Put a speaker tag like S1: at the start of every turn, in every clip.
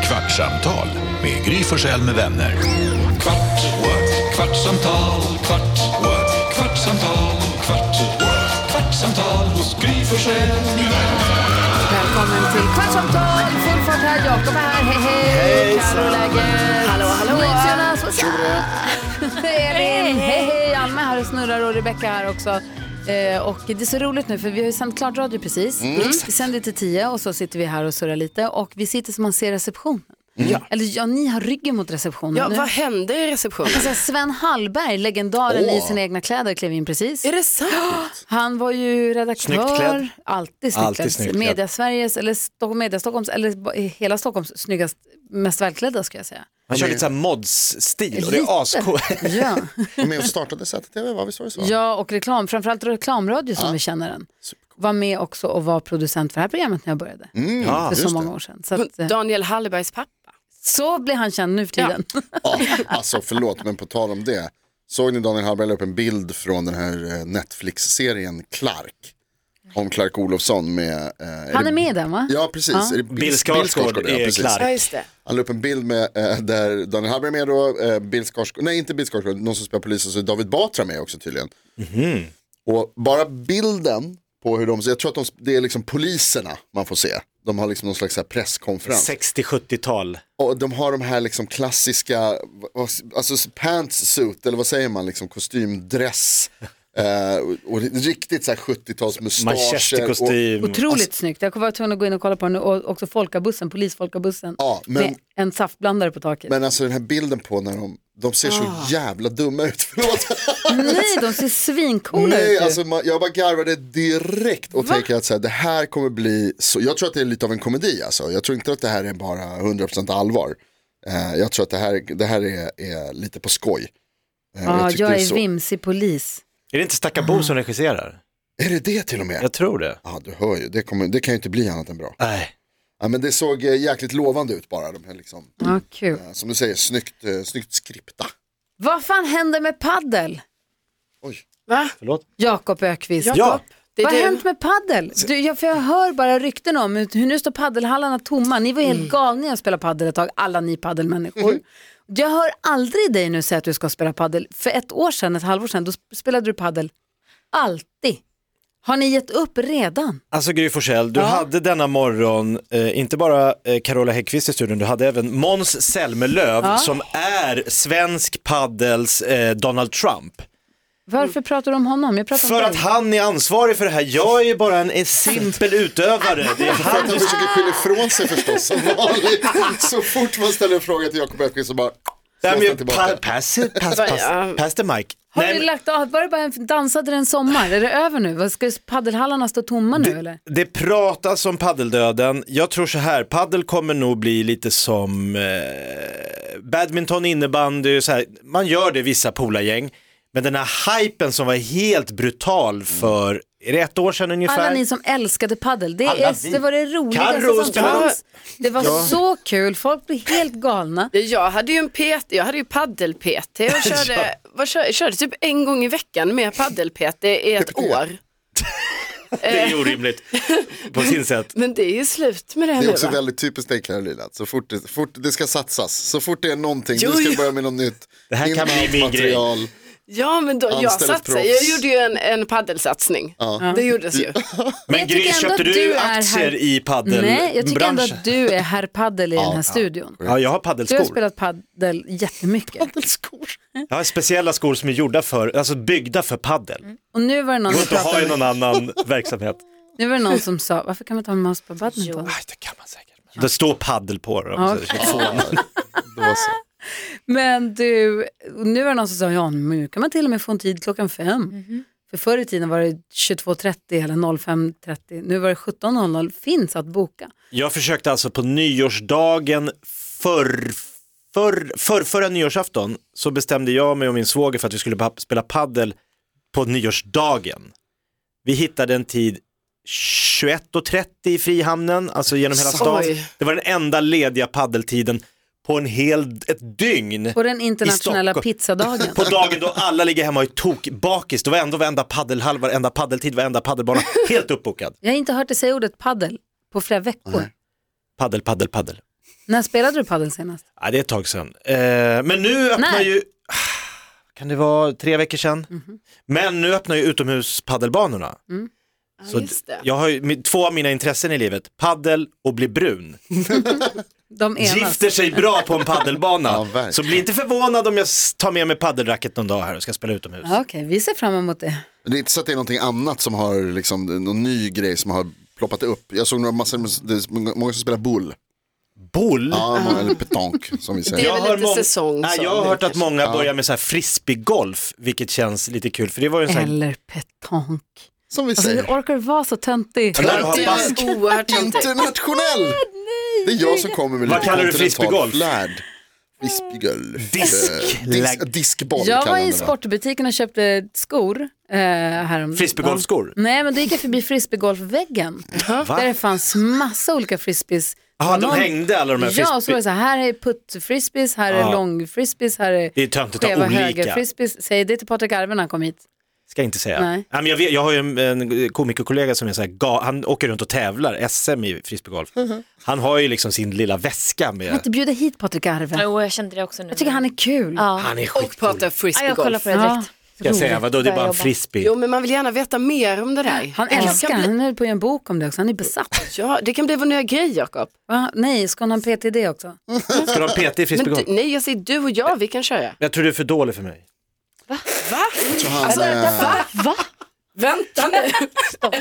S1: kvartsamtal med Gry Forssell med vänner. Kvart, what? kvartsamtal, kvart, what? kvartsamtal, kvart, what? kvartsamtal hos Gry Forssell med vänner.
S2: Välkommen till Kvartsamtal! Full fart här, Jakob är här, hej hej! Carro läget? Hallå, hallå! Jonas, what's up? Elin, hej hej! Alma är här och snurrar och Rebecca är här också. Eh, och det är så roligt nu för vi har ju sänt klart radio precis. Vi sänder till tio och så sitter vi här och surrar lite och vi sitter så man ser receptionen. Eller Mm. ja, ni har ryggen mot receptionen
S3: Ja,
S2: nu.
S3: vad hände i receptionen?
S2: Alltså, Sven Hallberg, legendaren i sina egna kläder, klev in precis.
S3: Är det sant?
S2: Han var ju
S4: Snyggt
S2: redaktör,
S4: klädd.
S2: alltid snyggt
S4: Alltid snyggt
S2: klädd.
S4: klädd.
S2: Media-Sveriges, eller Stockholm, Media-Stockholms, eller ba- hela Stockholms snyggast, mest välklädda ska jag säga.
S4: Han kör lite såhär mods-stil och det är ascoolt.
S2: Ja.
S5: Och med och startade ZTV, var vi så det så?
S2: ja, och reklam, framförallt reklamradio som vi känner den. Var med också och var producent för det här programmet när jag började,
S5: Mm,
S2: för så
S5: just
S2: många år sedan. Så, att, eh,
S3: Daniel Hallbergs pappa.
S2: så blir han känd nu för tiden.
S5: Ja, alltså förlåt, men på tal om det. Såg ni Daniel Hallberg la upp en bild från den här eh, Netflix-serien Clark? Om Clark Olofsson med... eh,
S2: Han
S5: det-
S2: är med i den va?
S5: Ja, precis. Är det
S4: Bill Skarsgård
S5: ja,
S4: är
S5: precis.
S4: Clark.
S3: just det.
S5: Han la upp en bild med, eh, där Daniel Hallberg är med då, eh, Bill Skarsgård, nej inte Bill Skarsgård, någon som spelar polisen, så är David Batra med också tydligen.
S4: Mhm.
S5: Och bara bilden på hur de, jag tror att de, det är liksom poliserna man får se. De har liksom någon slags så här presskonferens.
S4: 60-70-tal.
S5: Och de har de här liksom klassiska, vad- alltså pantsuit, eller vad säger man, liksom kostymdress. Eh, och- och riktigt så här 70-talsmustascher. och-
S4: Manchesterkostym.
S2: Otroligt snyggt, jag var tvungen att gå in och kolla på den nu och också folkabussen, polisfolkabussen.
S5: Ja, men,
S2: Med en saftblandare på taket.
S5: men alltså den här bilden på när de, de ser så
S2: Ah.
S5: jävla dumma ut, förlåt.
S2: Nej, de ser svincoola ut
S5: Nej,
S2: ju.
S5: alltså man, jag bara garvade direkt och tänkte att så här, det här kommer bli, så, jag tror att det är lite av en komedi alltså. Jag tror inte att det här är bara 100% allvar. Eh, jag tror att det här, det här är, är lite på skoj. Eh,
S2: Ja,
S5: tyckte
S2: jag
S5: det
S2: är
S5: så-
S2: vimsig polis.
S4: Är det inte Stakabo som regisserar?
S5: Är det det till och med?
S4: Jag tror det.
S5: Ja, du hör ju. Det, kommer, det kan ju inte bli annat än bra.
S4: Nej.
S5: Ja, men det såg eh, jäkligt lovande ut bara. De här liksom,
S2: Ja, kul.
S5: eh, som du säger, snyggt, eh, snyggt skripta.
S2: Vad fan händer med paddel?
S5: Oj.
S3: Va?
S4: Förlåt?
S2: Jakob Ökvist.
S4: Ja,
S3: Det är
S2: Vad har
S3: du.
S2: hänt med paddel? Du, jag, för jag hör bara rykten om hur hur nu står paddelhallarna tomma. Ni var helt
S3: Mm.
S2: galna i att spela paddel ett tag, alla ni paddelmänniskor.
S4: Mm-hmm.
S2: Jag hör aldrig dig nu säga att du ska spela paddel. För ett år sedan, ett halvår sedan, då sp- spelade du paddel. Alltid. Har ni gett upp redan?
S4: alltså Gry Forssell, du hade denna morgon eh, inte bara eh, Carola Häggkvist i studion, du hade även Måns Zelmerlöw som är svensk paddels eh, Donald Trump.
S2: Varför pratar du om honom? Jag pratar
S4: Mm. För
S2: om
S4: att
S2: dig.
S4: han är ansvarig för det här, jag är ju bara en eh, simpel utövare. Det är
S5: För att
S4: han
S5: han försöker skylla ifrån sig förstås, som vanligt. Så fort man ställer en fråga till Jakob Öqvist så bara...
S4: Nej,
S5: slås den
S4: men, pa,
S5: tillbaka.
S4: pass, it, pass, pass,
S3: Ja.
S4: pass the mic.
S2: Har
S4: Nej,
S2: du
S4: men-
S2: lagt av? Var det bara en, dansade det en sommar? Är det över nu? Vad, Ska paddelhallarna stå tomma nu eller?
S4: Det pratas om paddeldöden. Jag tror så här, paddel kommer nog bli lite som eh, badminton, innebandy, så här. man gör det i vissa polargäng. Men den här hypen som var helt brutal för, är det ett år sedan ungefär?
S2: Alla ni som älskade paddel, det,
S4: Alla
S2: är,
S4: vi.
S2: det var det roligaste
S4: Karro och
S2: som
S4: Stan.
S2: fanns. Det var så kul, folk blev helt galna.
S3: Jag hade ju en PT, jag hade ju paddel-PT och körde, vad kör, jag körde typ en gång i veckan med paddel-PT i ett år.
S4: Det är orimligt på sin sätt.
S3: Men det är ju slut med det,
S5: Det
S3: nu
S5: är också
S3: va?
S5: väldigt typiskt dig Karolina, så fort det, fort det ska satsas, så fort det är någonting,
S3: Jo,
S5: du
S3: jo.
S5: ska börja med något nytt.
S4: Det här
S5: In
S4: kan
S5: med
S4: bli
S5: allt
S4: min grej.
S5: material.
S3: Ja men då, jag
S5: Anställd
S3: satsade,
S5: proffs.
S3: jag gjorde ju en, en paddelsatsning. Det gjordes ju.
S4: Men
S2: Jag tycker
S4: Gry,
S2: ändå
S4: köpte
S2: att
S4: du,
S2: du är
S4: aktier
S2: här-
S4: i paddelbranschen?
S2: Nej, jag tycker ändå att du är herr paddel i den här studion.
S4: Ja, jag har
S2: Du har
S4: paddelskor.
S2: spelat paddel jättemycket.
S4: Jag har speciella skor som är gjorda för, alltså byggda för paddel.
S2: Och nu var det någon,
S4: Går
S2: som
S4: inte att ha
S2: pratade,
S4: i någon annan verksamhet.
S2: nu var det någon som sa, varför kan man inte ha mouse på badminton?
S4: Nej, det kan man säkert. Det står paddel på dem.
S2: Ja,
S4: så det är
S5: Då så.
S2: Men du, nu var det någon som sa, ja nu kan man till och med få en tid klockan fem. För förr i tiden var det 22.30 eller 05.30, nu var det 17.00, finns att boka.
S4: Jag försökte alltså på nyårsdagen för, för, för, förra nyårsafton så bestämde jag mig och min svåger för att vi skulle pa- spela paddel på nyårsdagen. Vi hittade en tid 21.30 i Frihamnen, alltså genom hela stan.
S3: Oj.
S4: Det var den enda lediga paddeltiden på en hel, ett dygn.
S2: På den internationella
S4: I Stockholm.
S2: pizzadagen.
S4: På dagen då alla ligger hemma och är tokbakis, då var ändå varenda paddelhall, varenda paddeltid, varenda paddelbana helt uppbokad.
S2: Jag har inte hört dig säga ordet paddel på flera veckor.
S4: Paddel, paddel, paddel.
S2: När spelade du padel senast?
S4: Ja, det är ett tag sedan. Eh, men nu öppnar
S2: Nej.
S4: ju, kan det vara tre veckor sedan?
S3: Mhm.
S4: Men nu öppnar ju utomhuspaddelbanorna. Så
S3: Ja, Mm, just det.
S4: jag har ju mi- två av mina intressen i livet, paddel och bli brun.
S2: De enas.
S4: Gifter sig bra på en paddelbana.
S5: Ja, verkligen.
S4: så bli inte förvånad om jag s- tar med mig paddelracket någon dag här och ska spela utomhus.
S2: Ja, Okej, vi ser fram emot det.
S5: Det är inte så att det är någonting annat som har, liksom, någon ny grej som har ploppat upp. Jag såg några massor, det är många som spelar boule.
S4: Boll?
S5: Ja, många, eller petanque som vi
S3: Det är
S5: säger.
S4: Jag
S3: väl
S4: har
S3: lite
S4: mång-
S3: säsong
S4: Nej,
S3: som
S4: jag har
S3: det
S4: hört att
S3: kanske-
S4: många börjar med så här frisbeegolf, vilket känns lite kul. För det var ju en sån här...
S2: Eller petanque.
S5: Som vi
S2: Alltså hur
S5: säger.
S2: orkar du vara så töntig?
S4: Där har
S3: Det
S4: bask-
S3: är oerhört töntigt.
S5: Internationell! Det är jag som kommer med
S4: Vad
S5: lite
S4: kallar du
S5: kontinental
S4: frisbeegolf?
S5: flärd. Frisbeegolf.
S4: Disk-
S5: Eh, dis-
S4: lag-
S5: Diskboll
S2: Jag var
S5: kallar
S2: i
S5: man det, va?
S2: sportbutiken och köpte skor eh, häromdagen.
S4: Frisbeegolfskor?
S2: Nej, men då gick jag förbi frisbeegolfväggen.
S4: Va?
S2: Där det fanns massa olika frisbees.
S4: Jaha, de
S2: Någon-
S4: hängde alla de här
S2: Ja, och så var det
S4: frisbee...
S2: så här, här är putt-frisbees, här
S4: Ja.
S2: är lång-frisbees, här är
S4: Det är töntigt att ha
S2: skeva
S4: olika.
S2: höger-frisbees. Säg det till Patrik Arve när han kom hit.
S4: Ska jag inte säga.
S2: Nej.
S4: Nej. men jag, vet, jag har ju en, en komikerkollega som är så här, ga- han åker runt och tävlar SM i frisbeegolf.
S3: Mhm.
S4: Han har ju liksom sin lilla väska
S2: Kan
S4: med,
S2: inte bjuda hit Patrik Arve?
S6: Jo, jag kände det också nu.
S2: Jag tycker han är kul.
S6: Ja.
S4: han är
S3: Och
S4: skitcool.
S3: prata
S6: Ja, jag kollar
S3: frisbeegolf.
S6: på det direkt.
S4: Ska jag säga, vadå det är bara en
S6: Jobba.
S4: frisbee.
S3: Jo, men man vill gärna veta mer om det där.
S2: Han
S3: Det kan
S2: älskar,
S3: bli-
S2: han höll på att göra en bok om det också, han är besatt.
S3: Ja, det kan bli vår nya grej, Jakob.
S2: Va? Nej, ska han ha en PTD också?
S4: Ska du ha en PT i
S3: Men
S4: frisbeegolf?
S3: du, nej, jag säger du och jag, vi kan köra.
S4: Jag tror du är för dålig för mig.
S5: Så han, eh,
S3: Vänta nu.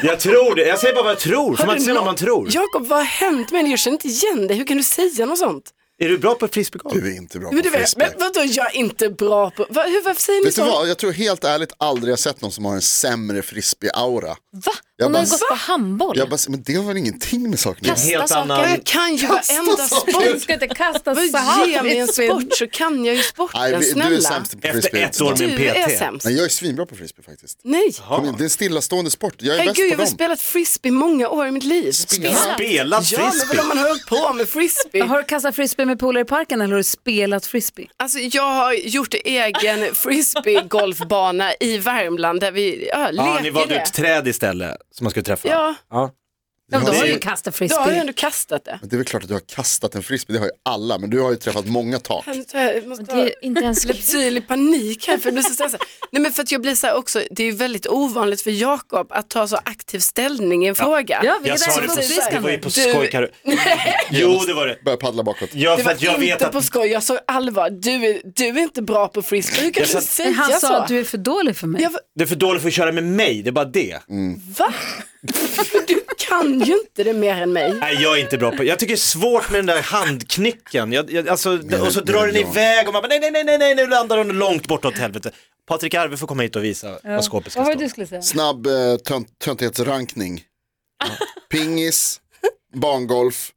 S4: Jag tror det, jag säger bara vad jag tror, får man
S3: du
S4: inte säga
S3: nå-
S4: vad man tror.
S3: Jakob, vad har hänt med dig? Jag känner inte igen dig. Hur kan du säga något sånt?
S4: Är du bra på frisbeegolf?
S5: Du är inte bra på
S3: Men, du vet,
S5: frisbee.
S3: men liksom- vadå, jag är inte bra på... Va, hur, varför säger ni
S5: Vet du
S3: så?
S5: vad, jag tror helt ärligt aldrig jag sett någon som har en sämre frisbee-aura.
S6: Va?
S5: Jag
S6: Hon har
S5: bara-
S6: ju gått på handboll.
S5: Jag bara, men det har väl ingenting med saken att
S6: Kasta
S5: göra?
S4: Helt
S6: saker.
S4: annan-
S3: Jag kan ju varenda
S2: Du
S3: sport.
S2: ska inte kasta så
S3: Vad Ge mig en
S2: här.
S3: sport så kan jag ju
S5: Nej,
S3: sporten,
S5: vi- du är
S3: snälla.
S5: sämst på
S4: Efter
S5: frisbee.
S4: ett år med en
S3: Du är
S4: PT.
S3: sämst.
S5: Men jag är svinbra på frisbee faktiskt.
S3: Nej.
S5: Kom igen, det är en stillastående sport, jag är
S3: Herregud, jag har
S5: bäst på dem.
S3: spelat frisbee många år i mitt liv.
S4: Spelat
S3: Ja, men vadå,
S4: frisbee?
S3: man har hållit på med frisbee.
S2: Har du kastat frisbee med polare i parken eller har du spelat frisbee?
S3: Alltså jag har gjort egen frisbeegolfbana i Värmland där vi ja,
S4: Ja,
S3: leker
S4: ni valde
S3: det.
S4: ut träd istället som man skulle träffa.
S3: Ja.
S2: Ja, men då
S5: det
S2: har
S5: är
S2: du
S5: ju-
S2: ju kastat
S3: Då har jag
S2: frisbee.
S3: ändå kastat det.
S5: Men det är väl klart att du har kastat en frisbee, det har ju alla, men du har ju träffat många tak.
S3: Jag måste- Jag måste
S6: Det
S3: ha
S6: är ju inte ens
S3: reptil panik här för jag blir så stressad. Nej men för att jag blir så här också, det är ju väldigt ovanligt för Jakob att ta så aktiv ställning i en fråga.
S2: Ja,
S4: Jag
S2: vilket
S4: sa
S2: är
S4: det
S2: så
S4: på, det var
S2: uppfriskande.
S4: ju på
S3: Du-
S4: skoj Karo. Jo det var det.
S5: Börja paddla bakåt.
S4: Ja,
S3: Det
S4: för att
S3: var
S4: jag vet
S3: inte
S4: att
S3: på skoj, jag sa allvar. Du är, du är inte bra på frisbee, hur kan
S4: Jag
S3: du
S4: satt-
S3: säga
S2: Han
S3: så?
S2: sa att du är för dålig för mig.
S3: Jag-
S4: det är för dåligt för att köra med mig, det är bara det.
S3: Va? Men du kan ju inte det mer än mig.
S4: Nej jag är inte bra på Jag tycker det är svårt med den där handknycken. Jag, jag, alltså, och så
S5: men-
S4: drar den
S5: ja.
S4: iväg och man bara nej, nej, nej, nej, nej, nu landar den långt bortåt helvete. Patrik Arve får komma hit och visa vad skåpet ska
S2: Vad var det
S4: stå.
S2: du skulle säga?
S5: Snabb eh, tönt- töntighetsrankning. Pingis, bangolf,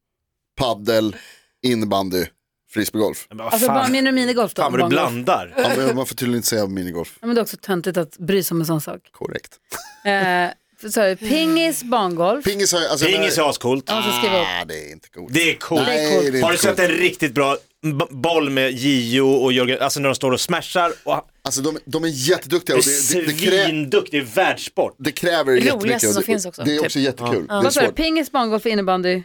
S5: paddel, innebandy, frisbeegolf.
S4: Men vad
S2: Alltså bara
S4: fan,
S2: min och minigolf då.
S4: fan vad du
S2: barngolf.
S4: blandar.
S5: Ja, men Man får tydligen inte säga minigolf.
S2: Ja, men det är också töntigt att bry sig om en sån sak.
S5: Korrekt.
S2: Eh, för så är det pingis, barngolf.
S5: Pingis har alltså, jag
S4: Pingis
S5: menar-
S4: är ascoolt.
S2: Och så skriver jag upp.
S5: Ah, det är inte coolt.
S4: Det är coolt.
S5: Nej,
S2: coolt.
S5: det är inte
S4: Har du sett
S5: coolt.
S4: en riktigt bra b- boll med Gio och Jörgen, alltså när de står och smashar och
S5: Alltså de, de är jätteduktiga
S4: Det är
S5: och det, det, det, krä,
S4: svindukt, det är världssport.
S5: det kräver jättemycket.
S6: Roligaste
S5: och
S6: som
S5: det-
S6: finns också,
S5: Det är
S6: typ.
S5: också jättekul. Det är
S2: Vad sa du?
S5: svårt.
S2: Pingis, barngolf, innebandy.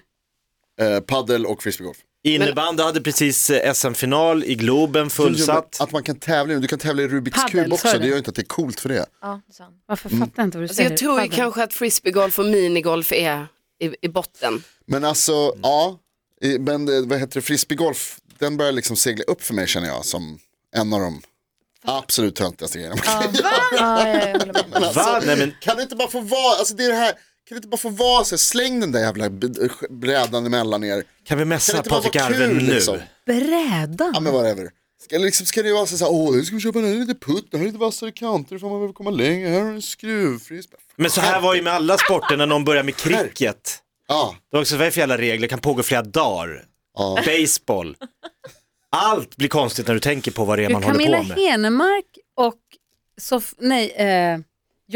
S5: Eh, paddel och frisbeegolf.
S4: Innebandy hade precis eh, SM-final i Globen, fullsatt.
S5: Att man kan tävla, i- du kan tävla i Rubiks
S2: Paddel,
S5: kub
S2: sa
S5: också,
S2: du?
S5: det gör inte att det är coolt för det.
S6: Ja, det sa han.
S2: Varför fattar Alltså, jag inte vad du
S3: Så
S2: säger?
S3: jag tror ju
S2: Padel.
S3: kanske att frisbeegolf och minigolf är i, i botten.
S5: Men alltså,
S4: Mm.
S5: ja, i- men det, vad heter det, frisbeegolf, den börjar liksom segla upp för mig känner jag som en av de absolut töntigaste grejerna. man kan göra.
S6: Ja, jag håller med.
S5: Men alltså,
S4: Va? Nej, men-
S5: Kan du inte bara få vara, alltså det är det här, kan du inte bara få vara så här, släng den där jävla b- eh, brädan emellan er.
S4: Kan vi
S5: Kan det
S4: mässa
S5: inte bara
S4: Patrik
S5: vara
S4: Arve
S5: kul
S4: nu?
S5: liksom?
S2: Brädan?
S5: Ja men whatever. Ska, liksom, ska det vara så här, åh nu ska vi köpa den här lite putt, den här är lite vassare kanter, då får man väl komma längre, här har du en skruvfrisbee.
S4: Men så här var ju med alla sporter när någon började med cricket.
S5: Ja,
S4: Det var också, vad är det för jävla regler? Kan pågå flera dagar.
S5: ja.
S4: Baseball. Allt blir konstigt när du tänker på vad det är man
S2: Camilla
S4: håller på med.
S2: Henemark och Sof- nej, eh,
S4: Sofie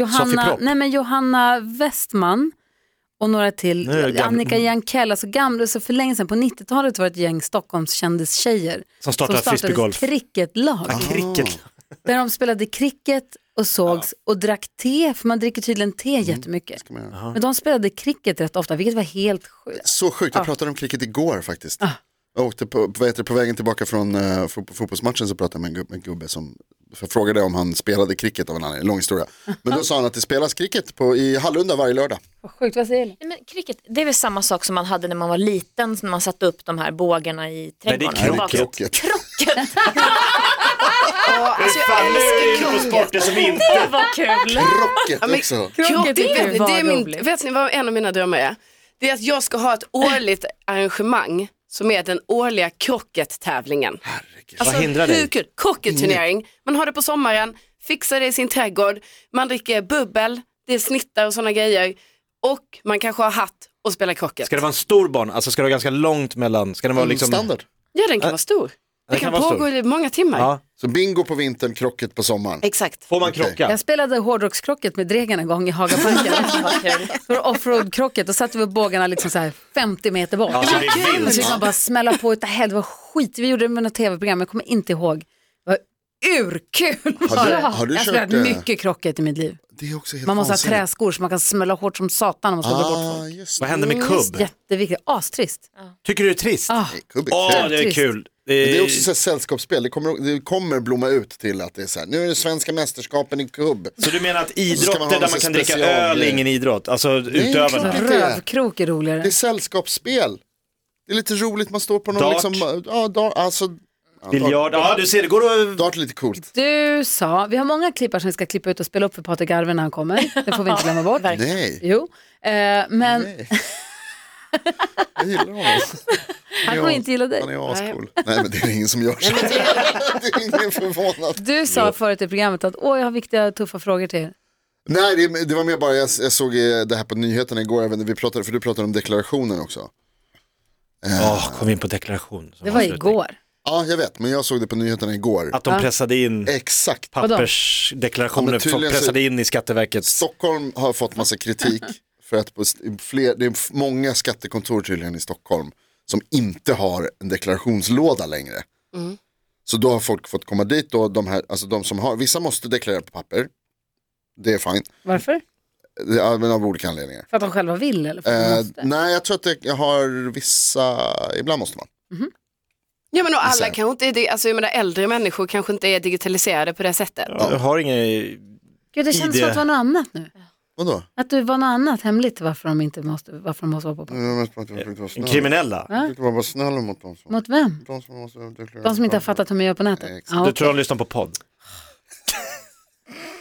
S2: Johanna,
S4: Propp.
S2: nej men Johanna Westman och några till,
S4: Nu är Mm. det gam-
S2: Annika Jankell, alltså gamla, så för länge sedan på 90-talet var det ett gäng Stockholmskändistjejer
S4: Som startade frisbeegolf.
S2: cricketlag.
S4: Ah, cricket.
S2: Där de spelade cricket och sågs och drack te, för man dricker tydligen
S4: Mm.
S2: te jättemycket. Men de spelade cricket rätt ofta, vilket var helt sjukt. Ah.
S5: Så sjukt, jag pratade om cricket igår faktiskt. Jag åkte på, på, vad heter det, på vägen tillbaka från eh, fot- fotbollsmatchen så pratade jag med en, gub, en gubbe som jag frågade om han spelade cricket av en anledning, lång historia. Men då sa han att det spelas cricket på, i Hallunda varje lördag.
S2: Vad sjukt, vad säger Elin?
S6: Nej, men cricket, det är väl samma sak som man hade när man var liten, när man satte upp de här bågarna i
S4: Nej, det är
S6: trädgården.
S4: krocket.
S5: Krocket.
S6: Krocket,
S4: Alltså, Fan, nu är du inne på sporter som inte...
S6: det var kul.
S5: Krocket också.
S3: Krocket,
S6: det
S3: vet, ni-
S6: var
S3: det är min,
S6: roligt.
S3: vet ni vad en av mina drömmar är? Det är att jag ska ha ett årligt arrangemang som är den årliga krockettävlingen. Alltså,
S4: Vad hindrar dig?
S3: hur kul? Crocketturnering, man har det på sommaren, fixar det i sin trädgård, man dricker bubbel, det är snittar och sådana grejer och man kanske har hatt och spelar crocket.
S4: Ska det vara en stor barn? Alltså ska det vara ganska långt mellan? Ska det vara liksom...
S5: Mm, Standard.
S3: Ja, den kan vara stor. Det
S4: den
S3: kan,
S4: kan vara
S3: pågå
S4: stor.
S3: i många timmar.
S4: Ja.
S5: Så bingo på vintern, krocket på sommaren.
S3: Exakt.
S4: Får man
S5: Okej.
S4: krocka?
S2: Jag spelade hårdrockskrocket med Dregen en gång i Hagaparken. Det var Offroad-krocket och satte vi upp bågarna liksom så här 50 meter bort.
S4: Ja, så det är
S2: Och så
S4: vilt.
S2: fick man bara smälla på utav helvete, det var skit. Vi gjorde det med något tv-program, jag kommer inte ihåg. Det var urkul.
S5: Har du- har du
S2: jag har
S5: kört,
S2: spelat
S5: eh,
S2: mycket krocket i mitt liv.
S5: Det är också helt
S2: Man måste ha
S5: vansinnigt.
S2: träskor så man kan smälla hårt som satan om man ska dra bort
S5: Ah,
S2: folk.
S5: just
S4: Vad händer med kubb?
S2: Jätteviktigt, astrist.
S4: Tycker du det är trist?
S2: Mm, Ah.
S5: det. Kubb är
S4: Åh,
S5: kul.
S4: det är
S2: Trist.
S4: kul. Eh, Det
S5: Men
S4: är-
S5: Det är också så här sällskapsspel, det kommer, det kommer blomma ut till att det är så här, nu är det svenska mästerskapen i kubb.
S4: Så du menar att
S5: ska man ha
S4: idrotter där
S5: en
S4: man kan
S5: sån
S4: dricka
S5: specialgrej.
S4: öl är ingen idrott? Alltså
S5: klart.
S4: utövarna?
S5: Tycker du det?
S2: Rövkrok är roligare.
S5: Det är sällskapsspel. Det är lite roligt, man står på någon
S4: Dart.
S5: liksom, ja, dart, alltså, ja,
S4: Biljard? Ja, du ser, det går att...
S5: dart är lite coolt.
S2: Du sa, vi har många klippar som vi ska klippa ut och spela upp för Patrik Arve när han kommer. Det får vi inte glömma bort.
S5: Nej,
S2: Jo, eh, men
S5: nej. Jag gillar honom.
S2: han kommer inte gilla
S5: Han
S2: dig.
S5: är ascool. Nej men det är ingen som gör så. det är ingen förvånad.
S2: Du sa förut i programmet att åh, jag har viktiga tuffa frågor till er.
S5: Nej det, det var mer bara, jag, jag såg eh, det här på nyheterna igår, även, vi pratade, för du pratade om deklarationen också.
S4: Åh, kom in på deklaration. som
S2: Det var
S4: avslutning.
S2: igår.
S5: Ja jag vet, men jag såg det på nyheterna igår.
S4: Att de pressade in
S5: Exakt. Eh, Ja,
S4: pappersdeklarationer,
S5: men tydligen så-
S4: pressade in i Skatteverkets...
S5: Stockholm har fått massa kritik för att på st- fler, det är f- många skattekontor tydligen i Stockholm som inte har en deklarationslåda längre.
S2: Mm.
S5: Så då har folk fått komma dit då, de här, alltså de som har, vissa måste deklarera på papper, det är fint,
S2: Varför?
S5: men av olika anledningar.
S2: För att de själva vill eller för att de
S5: Eh,
S2: måste?
S5: nej, jag tror att det, jag har vissa, ibland måste man.
S3: Ja men och alla
S5: Exakt.
S3: kanske inte, är dig- alltså jag menar äldre människor kanske inte är digitaliserade på det sättet.
S4: Ja. Jag har inga...
S2: Gud, det känns
S4: ID.
S2: som att det var något annat nu.
S5: Vadå?
S2: Att det var något annat hemligt varför de inte måste, varför de måste vara på.
S5: Jag måste bara- jag försökte vara snäll.
S4: Kriminella?
S5: Jag försökte bara vara snäll mot dem som,
S2: Mot vem?
S5: de som måste deklarera.
S2: De som
S5: på
S2: inte har
S5: papper.
S2: fattat hur man gör på nätet?
S5: Exakt.
S2: Ja,
S4: Du tror de lyssnar på podd?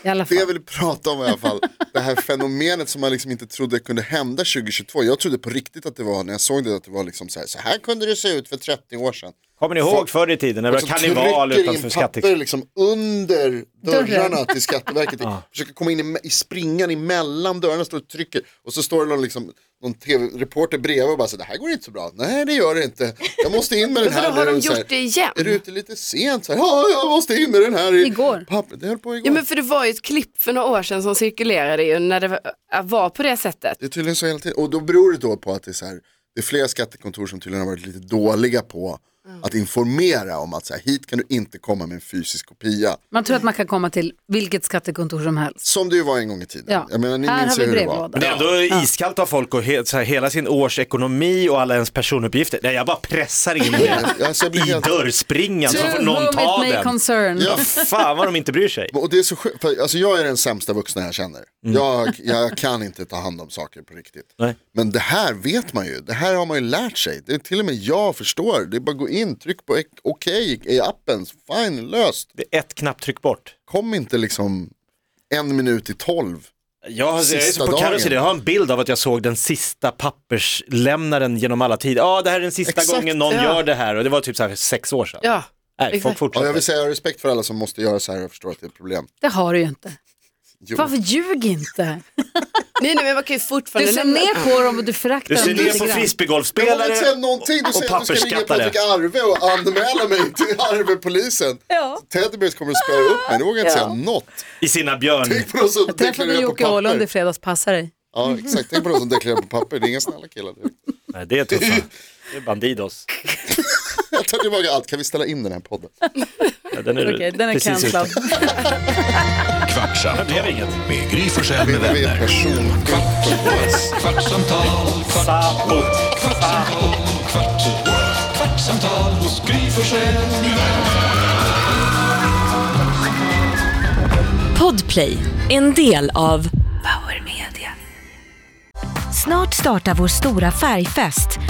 S2: i alla
S5: Det jag
S2: fall.
S5: vill prata om i alla fall, det här fenomenet som man liksom inte trodde kunde hända 2022. Jag trodde på riktigt att det var, när jag såg det, att det var liksom så här, så här kunde det se ut för 30 år sedan.
S4: Kommer ni ihåg förr i tiden när det
S5: Och
S4: var
S5: så
S4: karneval
S5: Alltså, trycker in
S4: utanför
S5: papper
S4: Skatteverket?
S5: liksom under dörrarna
S2: Dörren.
S5: till Skatteverket. Försöker komma in i, i springan emellan dörrarna, står och trycker. Och så står det någon, liksom, någon tv-reporter bredvid och bara så det här går inte så bra. Nej det gör det inte. Jag måste in med den
S3: Men
S5: här.
S3: vadå, har
S5: nu."
S3: de
S5: Så här,
S3: gjort det igen?
S5: Är du ute lite sent? Så här, ja, jag måste in med den här. i
S2: Igår.
S5: Papper. Det höll på igår.
S3: Ja men för det var ju ett klipp för några år sedan som cirkulerade ju när det var- var på det sättet.
S5: Det är tydligen så hela tiden. Och då beror det då på att det är så här, det är flera skattekontor som tydligen har varit lite dåliga på
S2: Mm.
S5: att informera om att så här, hit kan du inte komma med en fysisk kopia.
S2: Man tror att man kan komma till vilket skattekontor som helst.
S5: Som det ju var en gång i tiden.
S2: Ja.
S5: Jag menar, ni
S2: Här
S5: minns
S2: har
S5: ju
S2: vi
S5: hur det var.
S2: brevlådan.
S4: Men det är ändå iskallt av folk och he, så här, hela sin års ekonomi och alla ens personuppgifter. Nej, jag bara pressar in det
S5: Ja, alltså, jag
S4: i
S5: blir helt...
S4: dörrspringan så får någon
S2: whom it
S4: ta
S2: may
S4: den.
S2: concern.
S5: Ja.
S4: Fan vad de inte bryr sig.
S5: Och det är så sjukt, för alltså jag är den sämsta vuxna jag känner. Jag, jag kan inte ta hand om saker på riktigt.
S4: Nej.
S5: Men det här vet man ju, det här har man ju lärt sig. Det är till och med jag förstår, det är bara att gå in, tryck på ek- okej i appen, fine, löst.
S4: Det är ett knapptryck bort.
S5: Kom inte liksom en minut i tolv.
S4: Jag, har- alltså, jag, är
S5: Sista
S4: så på
S5: dagen.
S4: Carros idé. jag har en bild av att jag såg den sista papperslämnaren genom alla tider. Ja, det här är den sista
S5: Exakt,
S4: gången någon
S3: ja.
S4: gör det här och det var typ så här sex år sedan.
S3: Ja.
S4: Nej, folk
S3: exakt.
S5: Ja,
S4: fortsätter.
S5: jag vill säga jag har respekt för alla som måste göra så här och förstår att det är ett problem.
S2: Det har du ju inte.
S5: Jo.
S2: Varför ljug inte?
S3: Nej, nej men man kan ju fortfarande
S2: Du ser
S3: lämna-
S2: ner på dem och du föraktar
S4: Du
S2: dem
S4: ser ner
S2: lite
S4: på
S2: grann.
S5: Jag vågar inte säga
S4: frisbeegolfspelare
S5: någonting, du
S4: och
S5: säger att du ska ringa
S4: pappersskattare.
S5: Patrik Arve och anmäla mig till Arvepolisen.
S6: Ja.
S5: Teddybears kommer att spöa upp mig, då vågar jag inte säga något.
S4: i sina björn.
S5: Tänk på någon som
S2: Jag träffade
S5: deklarerar på
S2: Jocke Åhlund i
S5: papper.
S2: fredags, passa dig.
S5: Ja, exakt. Tänk på någon som deklarerar på papper, det är inga snälla killar. direkt.
S4: Nej, det är tuffa. Det är Bandidos.
S5: Jag tar tillbaka allt, kan vi ställa in den här podden?
S4: Ja, Den är,
S2: Okej, den är
S4: precis ute.
S2: cancellad.
S1: Kvartsamtal
S4: Det blev inget.
S1: med Gry Forssell med
S5: Vi är
S1: vänner.
S5: person.
S1: Kvart, what? kvartsamtal, kvart, what? kvartsamtal, kvart, what? kvartsamtal,
S7: kvartsamtal hos Gry Forssell med vänner.
S6: Podplay, en del av
S8: Snart startar vår stora färgfest